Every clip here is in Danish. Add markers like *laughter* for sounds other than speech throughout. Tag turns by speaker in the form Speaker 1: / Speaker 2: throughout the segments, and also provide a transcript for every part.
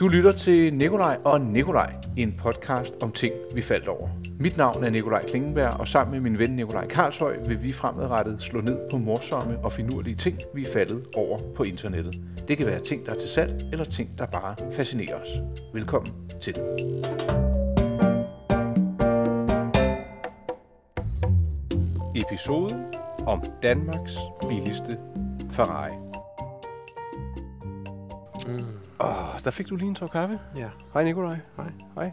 Speaker 1: Du lytter til Nikolaj og Nikolaj, en podcast om ting, vi faldt over. Mit navn er Nikolaj Klingenberg, og sammen med min ven Nikolaj Karlshøj vil vi fremadrettet slå ned på morsomme og finurlige ting, vi er faldet over på internettet. Det kan være ting, der er til salg, eller ting, der bare fascinerer os. Velkommen til. Episoden om Danmarks billigste Ferrari.
Speaker 2: Mm.
Speaker 1: Åh, der fik du lige en tår kaffe.
Speaker 2: Ja,
Speaker 1: Hej Nikolaj.
Speaker 2: Hej.
Speaker 1: Hej.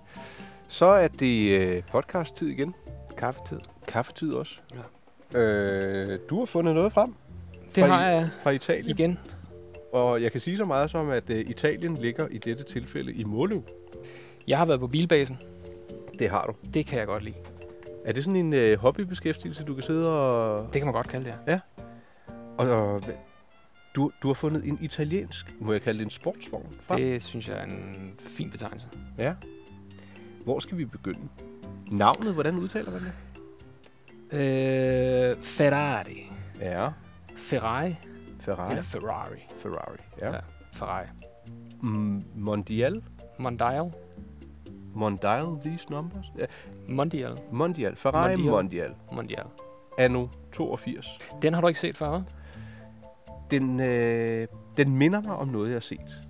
Speaker 1: Så er det øh, podcast-tid igen.
Speaker 2: kaffetid.
Speaker 1: Kaffetid også. Ja. Øh, du har fundet noget frem
Speaker 2: Det
Speaker 1: Fra
Speaker 2: har jeg
Speaker 1: fra Italien,
Speaker 2: igen.
Speaker 1: og jeg kan sige så meget som, at øh, Italien ligger i dette tilfælde i Måløv.
Speaker 2: Jeg har været på bilbasen.
Speaker 1: Det har du.
Speaker 2: Det kan jeg godt lide.
Speaker 1: Er det sådan en øh, hobbybeskæftigelse, du kan sidde og...
Speaker 2: Det kan man godt kalde det. ja.
Speaker 1: og, og du, du har fundet en italiensk, må jeg kalde det en sportsvogn, frem?
Speaker 2: Det synes jeg er en fin betegnelse.
Speaker 1: Ja. Hvor skal vi begynde? Navnet, hvordan udtaler man det?
Speaker 2: Øh, Ferrari.
Speaker 1: Ja,
Speaker 2: Ferrari.
Speaker 1: Ferrari.
Speaker 2: Eller Ferrari.
Speaker 1: Ferrari, ja. ja.
Speaker 2: Ja. Ferrari.
Speaker 1: Mm, Mondial.
Speaker 2: Mondial.
Speaker 1: Mondial, these numbers? Ja,
Speaker 2: Mondial.
Speaker 1: Mondial. Ferrari Mondial.
Speaker 2: Mondial.
Speaker 1: Mondial.
Speaker 2: Mondial.
Speaker 1: Anno 82.
Speaker 2: Den har du ikke set før, hva'?
Speaker 1: Den, øh, den minder mig om noget, jeg har set.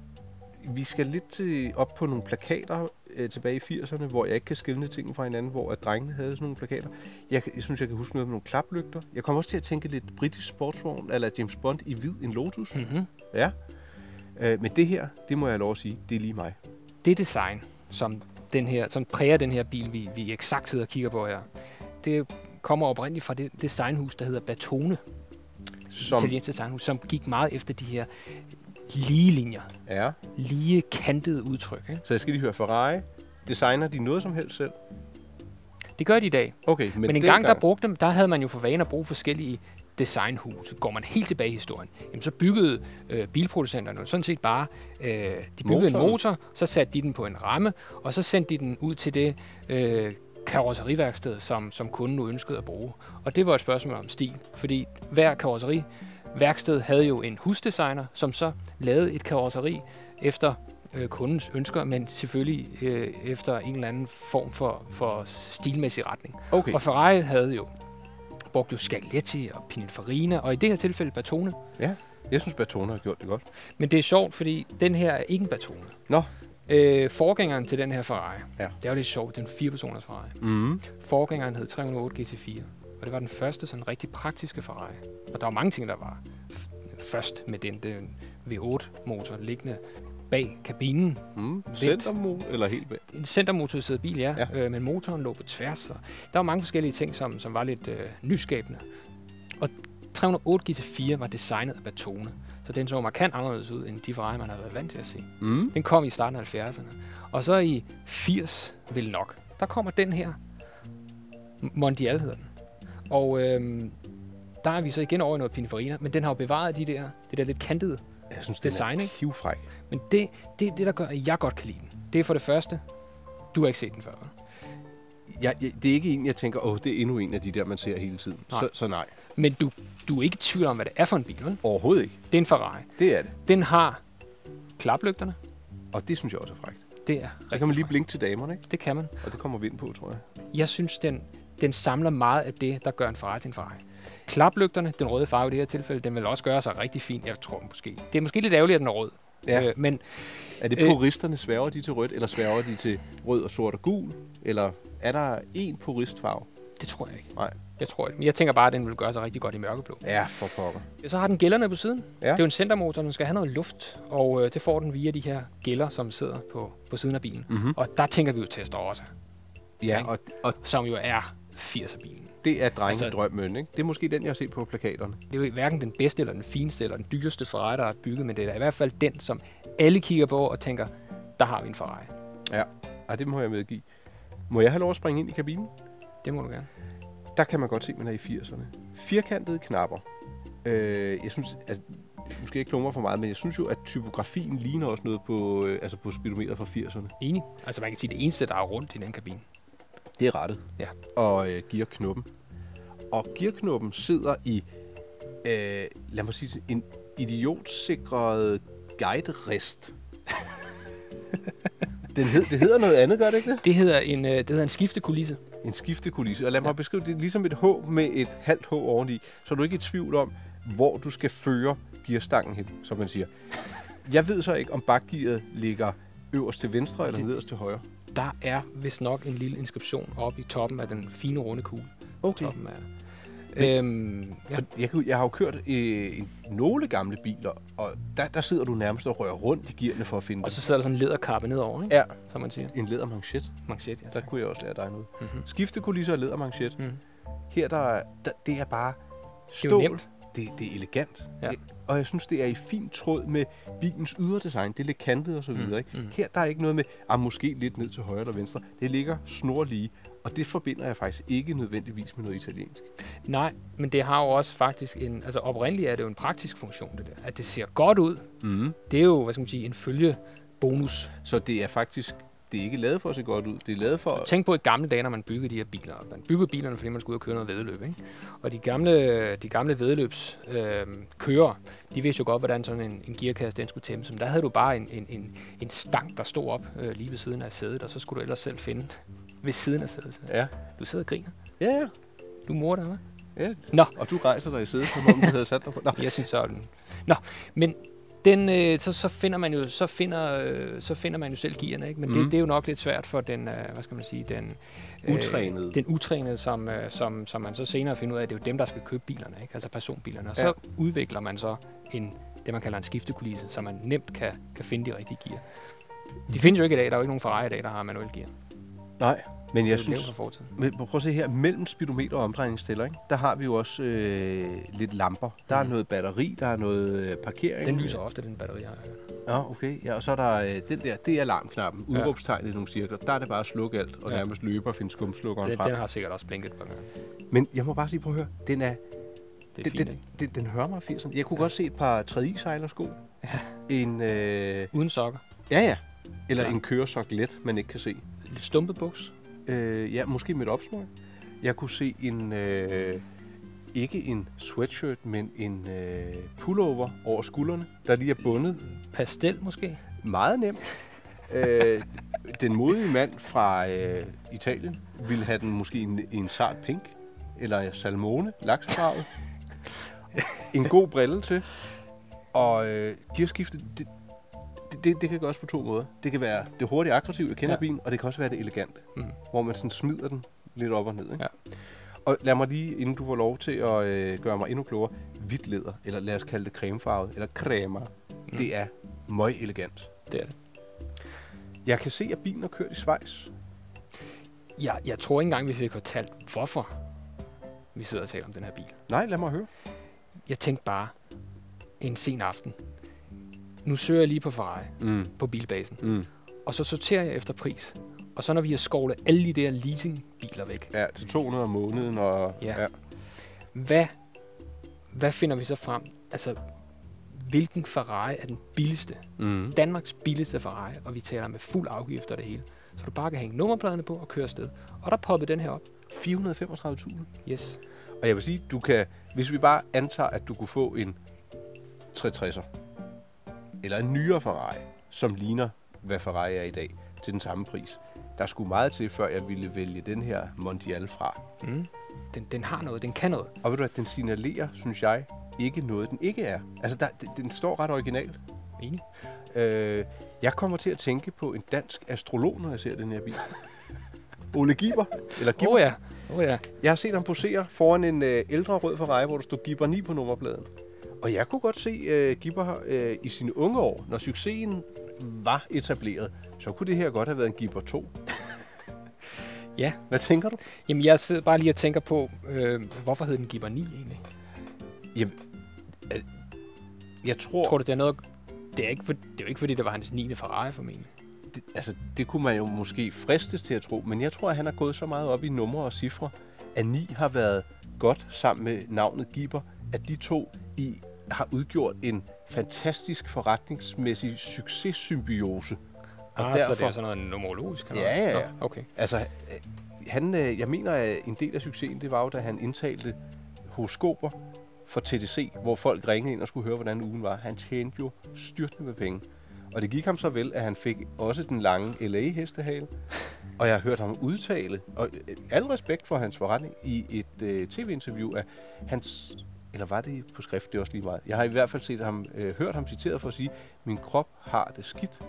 Speaker 1: Vi skal lidt til, op på nogle plakater øh, tilbage i 80'erne, hvor jeg ikke kan skille tingene fra hinanden, hvor at drengene havde sådan nogle plakater. Jeg, kan- jeg synes, jeg kan huske noget med nogle klaplygter. Jeg kommer også til at tænke lidt britisk sportsvogn, eller James Bond i hvid, en Lotus. Mm.
Speaker 2: Mm-hmm.
Speaker 1: Ja. Øh, men det her, det må jeg have lov at sige, det er lige mig.
Speaker 2: Det design, som, den her, som præger den her bil, vi, vi eksakt sidder og kigger på her, det kommer oprindeligt fra det designhus, der hedder Batone.
Speaker 1: Som
Speaker 2: Italiensk designhus, som gik meget efter de her lige linjer.
Speaker 1: er...
Speaker 2: lige kantede udtryk. Ikke?
Speaker 1: Så jeg skal lige høre, Ferrari, designer de noget som helst selv?
Speaker 2: Det gør de i dag.
Speaker 1: Okay, men,
Speaker 2: Men, Men en gang,
Speaker 1: dengang-
Speaker 2: der brugte dem, der havde man jo for vane at bruge forskellige designhuse. Går man helt tilbage i historien, jamen så byggede øh, bilproducenterne jo sådan set bare, øh, de byggede
Speaker 1: Motoren.
Speaker 2: en motor, så satte de den på en ramme, og så sendte de den ud til det øh, karrosseriværksted, som, som kunden nu ønskede at bruge. Og det var et spørgsmål om stil, fordi hver karrosseriværksted havde jo en husdesigner, som så lavede et karrosseri efter øh, kundens ønsker, men selvfølgelig øh, efter en eller anden form for, for stilmæssig retning.
Speaker 1: Okay,
Speaker 2: Og Ferrari havde jo brugt jo Scaletti og Pininfarina, og i det her tilfælde Batone.
Speaker 1: jeg synes, Bertone har gjort det godt.
Speaker 2: Men det er sjovt, fordi den her er ikke en Batone.
Speaker 1: Nå.
Speaker 2: Øh, forgængeren til den her Ferrari,
Speaker 1: Ja.
Speaker 2: det er jo lidt sjovt, det er en firepersoners Ferrari.
Speaker 1: Mm.
Speaker 2: Forgængeren hed 308 GT4, og det var den første sådan rigtig praktiske Ferrari. Og der var mange ting, der var f- først med den, den V8-motor liggende bag kabinen.
Speaker 1: Mm. Centermo eller helt bag?
Speaker 2: En centermotoriseret bil, ja,
Speaker 1: Ja.
Speaker 2: ja. Øh, men motoren lå på tværs. Og der var mange forskellige ting, som, som var lidt øh, nyskabende. Og 308 GT4 var designet af Batone, så den så markant anderledes ud, end de Ferrari, man havde været vant til at se.
Speaker 1: Mm.
Speaker 2: Den kom i starten af 70'erne. Og så i 80 vel nok, der kommer den her. M- Mondial hedder den. Og øhm, der er vi så igen over i noget Pininfarina, men den har jo bevaret de der, det der lidt kantede.
Speaker 1: Jeg synes, det
Speaker 2: Design,
Speaker 1: er
Speaker 2: ikke?
Speaker 1: hivfræk.
Speaker 2: Men det, det, er det, der gør, at jeg godt kan lide den, det er for det første, du har ikke set den før. vel?
Speaker 1: Jeg, jeg, det er ikke en, jeg tænker, åh, det er endnu en af de der, man ser hele tiden.
Speaker 2: Nej.
Speaker 1: Så, så nej,
Speaker 2: Men du, du er ikke i tvivl om, hvad det er for en bil, vel?
Speaker 1: overhovedet ikke.
Speaker 2: Det er en Ferrari.
Speaker 1: Det er det.
Speaker 2: Den har klaplygterne.
Speaker 1: Og det synes jeg også er frækt.
Speaker 2: Det er
Speaker 1: Så kan man lige
Speaker 2: frækt.
Speaker 1: blinke til damerne, ikke?
Speaker 2: Det kan man.
Speaker 1: Og det kommer vi ind på, tror jeg.
Speaker 2: Jeg synes, den, den samler meget af det, der gør en Ferrari til en Ferrari. Klaplygterne, den røde farve i det her tilfælde, den vil også gøre sig rigtig fin. Jeg tror måske. Det er måske lidt ærgerligt, at den er rød.
Speaker 1: Ja.
Speaker 2: Øh, men
Speaker 1: Er det
Speaker 2: Øh.
Speaker 1: puristerne, sværger de til rødt, eller sværger de til rød og sort og gul? Eller er der én puristfarve?
Speaker 2: det tror jeg ikke.
Speaker 1: Nej.
Speaker 2: Jeg tror ikke. Men jeg tænker bare, at den vil gøre sig rigtig godt i mørkeblå.
Speaker 1: Ja, for pokker.
Speaker 2: Så har den gælderne på siden.
Speaker 1: Ja.
Speaker 2: Det er jo en centermotor, den skal have noget luft, og øh, det får den via de her gælder, som sidder på, på siden af bilen.
Speaker 1: Mhm.
Speaker 2: Og der tænker vi jo tester også,
Speaker 1: Ja,
Speaker 2: Ikke?
Speaker 1: og, og
Speaker 2: som jo er 80'er-bilen.
Speaker 1: det er drengedrømmen, altså,
Speaker 2: Altså-
Speaker 1: ikke? Det er måske den, jeg har set på plakaterne.
Speaker 2: Det er jo hverken den bedste, eller den fineste, eller den dyreste Ferrari, der er bygget, men det er da i hvert fald den, som alle kigger på og tænker, der har vi en Ferrari.
Speaker 1: Ej, det må jeg medgive. Må jeg have lov at springe ind i kabinen?
Speaker 2: Det må du gerne.
Speaker 1: Der kan man godt se, at man er i 80'erne. Firkantede knapper. Øh, jeg synes, altså, måske ikke klummer for meget, men jeg synes jo, at typografien ligner også noget på, øh, altså på speedometer fra 80'erne.
Speaker 2: Enig. Altså man kan sige, det eneste, der er rundt i den kabine.
Speaker 1: Det er rettet.
Speaker 2: Ja.
Speaker 1: Og øh, gearknoppen. Og gearknoppen sidder i, øh, lad mig sige, det, en idiotsikret guiderist. *laughs* Den hed, det hedder noget andet, gør det ikke det?
Speaker 2: Det hedder en, øh, det hedder en skiftekulisse.
Speaker 1: En skiftekulisse. Og lad mig beskrive det ligesom et H med et halvt H oveni, så er du ikke i tvivl om, hvor du skal føre gearstangen hen, som man siger. Jeg ved så ikke, om bakgearet ligger øverst til venstre eller
Speaker 2: Det-
Speaker 1: nederst til højre.
Speaker 2: Der er vist nok en lille inskription oppe i toppen af den fine runde kugle.
Speaker 1: Okay.
Speaker 2: Toppen af. Øhm, ja,
Speaker 1: For Jeg, kan- jeg har jo kørt øh, en- nogle gamle biler, og der, der sidder du nærmest og rører rundt i gearne for at finde
Speaker 2: og
Speaker 1: dem.
Speaker 2: så sidder der sådan en læderkappe nedover, ikke?
Speaker 1: Ja,
Speaker 2: som man siger.
Speaker 1: en lædermanchet.
Speaker 2: Manchet, ja.
Speaker 1: Der
Speaker 2: tak.
Speaker 1: kunne jeg også lære dig noget.
Speaker 2: Mhm.
Speaker 1: Skiftekulisse og lædermanchet.
Speaker 2: Mhm.
Speaker 1: Her der, er- der, det er bare
Speaker 2: jo
Speaker 1: stål.
Speaker 2: nemt.
Speaker 1: Det, det er elegant.
Speaker 2: Ja.
Speaker 1: Og jeg synes, det er i fin tråd med bilens ydre design. Det er lidt kantet og så videre. Ikke?
Speaker 2: mhm.
Speaker 1: Her der er ikke noget med, ah, måske lidt ned til højre eller venstre. Det ligger snorlige. Og det forbinder jeg faktisk ikke nødvendigvis med noget italiensk.
Speaker 2: Nej, men det har jo også faktisk en... Altså oprindeligt er det jo en praktisk funktion, det der. At det ser godt ud,
Speaker 1: Mm.
Speaker 2: det er jo, hvad skal man sige, en følge bonus.
Speaker 1: Så det er faktisk det er ikke lavet for at se godt ud. Det er lavet for...
Speaker 2: Tænk på i gamle dage, når man byggede de her biler. Man byggede bilerne, fordi man skulle ud og køre noget vedløb. Ikke? Og de gamle, de gamle vedløbs øh, kører, de vidste jo godt, hvordan sådan en, en gearkasse den skulle tæmmes. Men der havde du bare en, en, en, en stang, der stod op øh, lige ved siden af sædet, og så skulle du ellers selv finde ved siden af sædet.
Speaker 1: Ja.
Speaker 2: Du sidder og griner.
Speaker 1: Ja, ja.
Speaker 2: Du morer dig, hva'?
Speaker 1: ja.
Speaker 2: Nå.
Speaker 1: Og du rejser dig i sædet, som om du havde sat dig på. Nå.
Speaker 2: Jeg synes sådan. Nå, men den, øh, så, så finder man jo så finder, øh, så finder man jo selv gearne, ikke? Men mm.
Speaker 1: Mhm.
Speaker 2: det, det er jo nok lidt svært for den, øh, hvad skal man sige, den øh,
Speaker 1: Utrænede.
Speaker 2: den utrænede, som, øh, som, som man så senere finder ud af, at det er jo dem, der skal købe bilerne, ikke? Altså personbilerne. Og så
Speaker 1: Ja.
Speaker 2: udvikler man så en det man kalder en skiftekulisse, så man nemt kan, kan finde de rigtige gear. De findes jo ikke i dag. Der er jo ikke nogen Ferrari i dag, der har manuel gear.
Speaker 1: Nej, men jeg synes...
Speaker 2: synes...
Speaker 1: Men prøv at se her, mellem speedometer og omdrejningstæller, ikke? der har vi jo også øh, lidt lamper. Der er
Speaker 2: Mhm.
Speaker 1: noget batteri, der er noget øh, parkering.
Speaker 2: Den lyser ofte, den batteri har.
Speaker 1: Ja, okay. Ja, og så er der øh, den der, det er alarmknappen.
Speaker 2: Ja.
Speaker 1: Udråbstegnet i nogle cirkler. Der er det bare at slukke alt og
Speaker 2: Ja.
Speaker 1: nærmest løbe og finde skumslukkeren
Speaker 2: Den,
Speaker 1: frem.
Speaker 2: den har sikkert også blinket på gange.
Speaker 1: Men jeg må bare sige, prøv at høre, den er,
Speaker 2: Det er
Speaker 1: den,
Speaker 2: fint,
Speaker 1: den,
Speaker 2: ikke?
Speaker 1: den, den hører mig 80'erne. Jeg kunne
Speaker 2: Ja.
Speaker 1: godt se et par 3 sejlersko
Speaker 2: Ja.
Speaker 1: En, øh,
Speaker 2: Uden sokker.
Speaker 1: ja ja, eller
Speaker 2: Ja.
Speaker 1: en køresok let, man ikke kan se.
Speaker 2: Lidt stumpet buks.
Speaker 1: Øh, ja, måske med et opsmøg. Jeg kunne se en, øh, ikke en sweatshirt, men en øh, pullover over skuldrene, der lige er bundet.
Speaker 2: Pastel måske?
Speaker 1: Meget nemt. øh, den modige mand fra øh, Italien ville have den måske i en, i en sart pink, eller salmone, laksefarvet. en god brille til. Og øh, gearskiftet, det, det, det, det kan gøres på to måder. Det kan være det hurtige aggressive, jeg kender
Speaker 2: Ja.
Speaker 1: ja. bilen, og det kan også være det elegante
Speaker 2: Mm.
Speaker 1: hvor man sådan smider den lidt op og ned. Ikke?
Speaker 2: Ja.
Speaker 1: Og lad mig lige, inden du får lov til at øh, gøre mig endnu klogere, hvidt læder, eller lad os kalde det cremefarvet, eller cremer, mm. det er møg elegant.
Speaker 2: Det er det.
Speaker 1: Jeg kan se, at bilen har kørt i Schweiz.
Speaker 2: Jeg, jeg tror ikke engang, vi fik fortalt, hvorfor vi sidder og taler om den her bil.
Speaker 1: Nej, lad mig høre.
Speaker 2: Jeg tænkte bare, en sen aften. Nu søger jeg lige på Ferrari,
Speaker 1: Mm.
Speaker 2: på bilbasen,
Speaker 1: Mm.
Speaker 2: og så sorterer jeg efter pris. Og så når vi har skovlet alle de der leasingbiler væk,
Speaker 1: Ja, til 200 om måneden. Og,
Speaker 2: Ja. hvad, hvad finder vi så frem? Altså, hvilken Ferrari er den billigste?
Speaker 1: Mm.
Speaker 2: Danmarks billigste Ferrari, og vi taler med fuld afgift og det hele. Så du bare kan hænge nummerpladerne på og køre afsted. Og der poppede den her op.
Speaker 1: 435.000.
Speaker 2: Yes.
Speaker 1: Og jeg vil sige, du kan, hvis vi bare antager, at du kunne få en 360'er, eller en nyere Ferrari, som ligner, hvad Ferrari er i dag, til den samme pris. Der skulle meget til, før jeg ville vælge den her Mondial fra.
Speaker 2: Mm. Den, den har noget, den kan noget.
Speaker 1: Og ved du at den signalerer, synes jeg, ikke noget, den ikke er. Altså, der, den- den står ret originalt.
Speaker 2: Enig.
Speaker 1: Øh, jeg kommer til at tænke på en dansk astrolog, når jeg ser den her bil. Ole Giber, eller Giber.
Speaker 2: Åh oh, ja, åh oh, ja.
Speaker 1: Jeg har set ham posere foran en øh, ældre rød Ferrari, hvor der stod Gibber 9 på nummerpladen. Og jeg kunne godt se øh, Gibber øh, i sine unge år, når succesen var etableret, så kunne det her godt have været en Gibber 2.
Speaker 2: Ja.
Speaker 1: Hvad tænker du?
Speaker 2: Jamen, jeg sidder bare lige og tænker på, øh, hvorfor hed den Gibber 9 egentlig?
Speaker 1: Jeg tror,
Speaker 2: Tror du, det er noget... Det er, ikke for, det er jo ikke, fordi det var hans 9. Ferrari, formentlig.
Speaker 1: det, altså, det kunne man jo måske fristes til at tro, men jeg tror, at han har gået så meget op i numre og cifre, at 9 har været godt sammen med navnet Gibber, at de to i, har udgjort en fantastisk forretningsmæssig successymbiose.
Speaker 2: Og ah, derfor... så det er sådan noget numerologisk? eller
Speaker 1: Ja,
Speaker 2: hvad?
Speaker 1: ja, ja.
Speaker 2: Nå, okay.
Speaker 1: Altså, øh, han, øh, jeg mener, at en del af succesen, det var jo, da han indtalte horoskoper for TDC, hvor folk ringede ind og skulle høre, hvordan ugen var. Han tjente jo styrtende med penge. Og det gik ham så vel, at han fik også den lange LA-hestehale. Og jeg har hørt ham udtale, og øh, al respekt for hans forretning, i et øh, tv-interview, at hans, eller var det på skrift, det er også lige meget. Jeg har i hvert fald set ham, øh, hørt ham citeret for at sige, min krop har det skidt,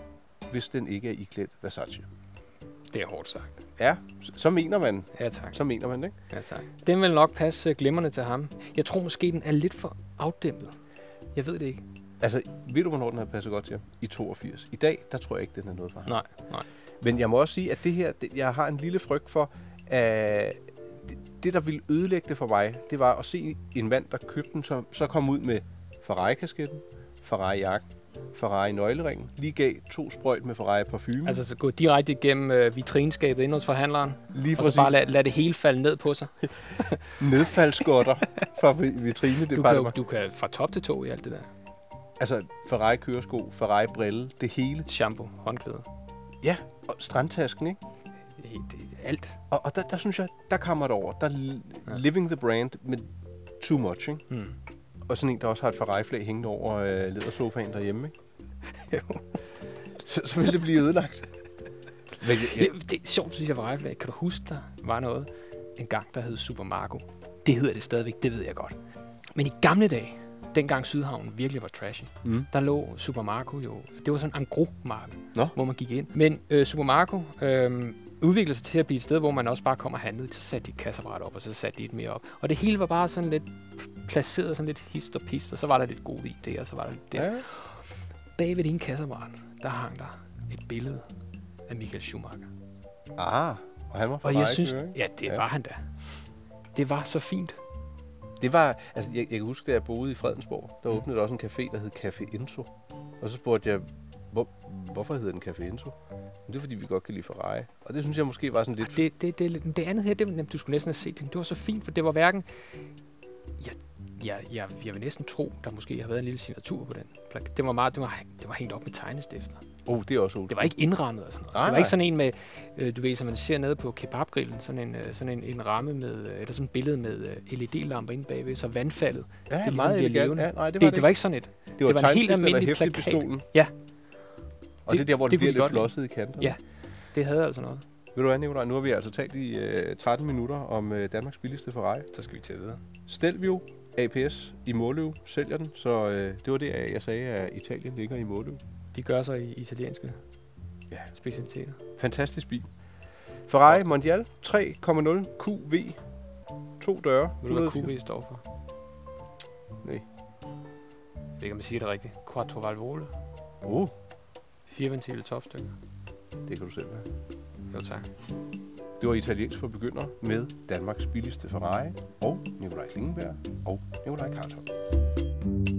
Speaker 1: hvis den ikke er iklædt Versace.
Speaker 2: Det er hårdt sagt.
Speaker 1: Ja, så, så mener man.
Speaker 2: Ja tak.
Speaker 1: Så mener man det, ikke?
Speaker 2: ja, tak. Den vil nok passe øh, glimrende til ham. Jeg tror måske, den er lidt for afdæmpet. Jeg ved det ikke.
Speaker 1: Altså, ved du, hvornår den har passet godt til ham? I 82. I dag, der tror jeg ikke, den er noget for ham.
Speaker 2: Nej, nej.
Speaker 1: Men jeg må også sige, at det her, det, jeg har en lille frygt for, at det, det, der ville ødelægge det for mig, det var at se en mand, der købte den, som så kom ud med Ferrari-kasketten, Ferrari-jakken, Ferrari-nøgleringen, lige gav to sprøjt med Ferrari-parfume.
Speaker 2: Altså, så gå direkte igennem øh, vitrinskabet inde hos forhandleren,
Speaker 1: lige
Speaker 2: og så bare lad, lad det hele falde ned på sig. *laughs*
Speaker 1: nedfaldsgodter fra
Speaker 2: Du kan, jo,
Speaker 1: vitrinedepartementet.
Speaker 2: du kan fra top til to i alt det der.
Speaker 1: Altså, Ferrari-køresko, Ferrari-brille, det hele.
Speaker 2: Shampoo, håndklæde,
Speaker 1: Ja, og strandtasken, ikke?
Speaker 2: det, det, alt.
Speaker 1: Og, og der, der synes jeg, der kommer det over. Der er
Speaker 2: Ja.
Speaker 1: ja. living the brand, men too much, ikke?
Speaker 2: Mm.
Speaker 1: Og sådan en, der også har et Ferrari-flag hængende over øh, ledersofaen derhjemme, ikke? *laughs*
Speaker 2: Jo.
Speaker 1: Så, så vil det blive ødelagt. Men, jeg, jeg,
Speaker 2: Det, det er sjovt, synes jeg, var Kan du huske, der var noget en gang, der hed Super Marco? Det hedder det stadigvæk, det ved jeg godt. Men i gamle dage, dengang Sydhavn virkelig var trashy,
Speaker 1: mm.
Speaker 2: der lå Super Marco jo, det var sådan en gros marked,
Speaker 1: Nå.
Speaker 2: hvor man gik ind. Men øh, Super Marco øh, udviklede sig til at blive et sted, hvor man også bare kom og handlede. Så satte de et kasseapparat op, og så satte de et mere op. Og det hele var bare sådan lidt placeret sådan lidt hist og pist, og så var der lidt god i det, og så var der lidt der.
Speaker 1: Ja.
Speaker 2: Bag ved din kasseapparat, der hang der et billede af Michael Schumacher.
Speaker 1: Ah, og han var
Speaker 2: Og
Speaker 1: Ferrari
Speaker 2: jeg synes,
Speaker 1: ikke?
Speaker 2: ja, det
Speaker 1: Ja.
Speaker 2: var han da. Det var så fint.
Speaker 1: Det var, altså jeg, jeg kan huske, da jeg boede i Fredensborg, der åbnede der også en café, der hed Café Enzo. Og så spurgte jeg, hvor, hvorfor hedder den Café Enzo? Men det er, fordi vi godt kan lide Ferrari. Og det synes jeg måske var sådan lidt...
Speaker 2: Det, det, det, det, det andet her, det, var nemt. du skulle næsten have set det. Det var så fint, for det var hverken... Jeg, jeg, jeg, jeg vil næsten tro, der måske har været en lille signatur på den. plak- Det var, meget, det var, det var hængt op med tegnestifter.
Speaker 1: Oh, det er også old
Speaker 2: Det var ikke indrammet og sådan noget.
Speaker 1: Nej,
Speaker 2: det var
Speaker 1: nej.
Speaker 2: ikke sådan en med, øh, du ved, som man ser nede på kebabgrillen, sådan en, øh, sådan en, en ramme med, øh, eller sådan et billede med øh, LED-lamper inde bagved, så vandfaldet. Det,
Speaker 1: ja,
Speaker 2: ligesom
Speaker 1: meget
Speaker 2: bliver
Speaker 1: elegant.
Speaker 2: levende.
Speaker 1: Ja, nej, det,
Speaker 2: det,
Speaker 1: var
Speaker 2: det, det var ikke sådan et.
Speaker 1: ikke. Det var,
Speaker 2: det var en helt
Speaker 1: tegnstift eller
Speaker 2: almindelig
Speaker 1: hæftet
Speaker 2: plakat.
Speaker 1: pistolen.
Speaker 2: Ja.
Speaker 1: Og det, er der, hvor det,
Speaker 2: det
Speaker 1: bliver
Speaker 2: kunne de
Speaker 1: lidt
Speaker 2: godt lide.
Speaker 1: flosset i kanterne.
Speaker 2: Ja. Det havde altså noget.
Speaker 1: Ved du hvad, Nicolaj, nu har vi altså talt i øh, 13 minutter om øh, Danmarks billigste Ferrari.
Speaker 2: Så skal vi til videre.
Speaker 1: Stelvio APS i Måløv sælger den, så øh, det var det, jeg sagde, at Italien ligger i Måløv.
Speaker 2: De gør sig i italienske
Speaker 1: Ja.
Speaker 2: specialiteter.
Speaker 1: Fantastisk bil. Ferrari Mondial 3,0 QV. To døre.
Speaker 2: Ved du, hvad
Speaker 1: 104.
Speaker 2: QV står for?
Speaker 1: Nej.
Speaker 2: Jeg ved ikke, om jeg siger det rigtigt. Quattro valvole.
Speaker 1: Oh,
Speaker 2: Fireventile topstykker.
Speaker 1: det kan du selv være.
Speaker 2: Jo tak.
Speaker 1: Det var italiensk for begyndere med Danmarks billigste Ferrari og Nikolaj Klingenberg og Nikolaj Kartov.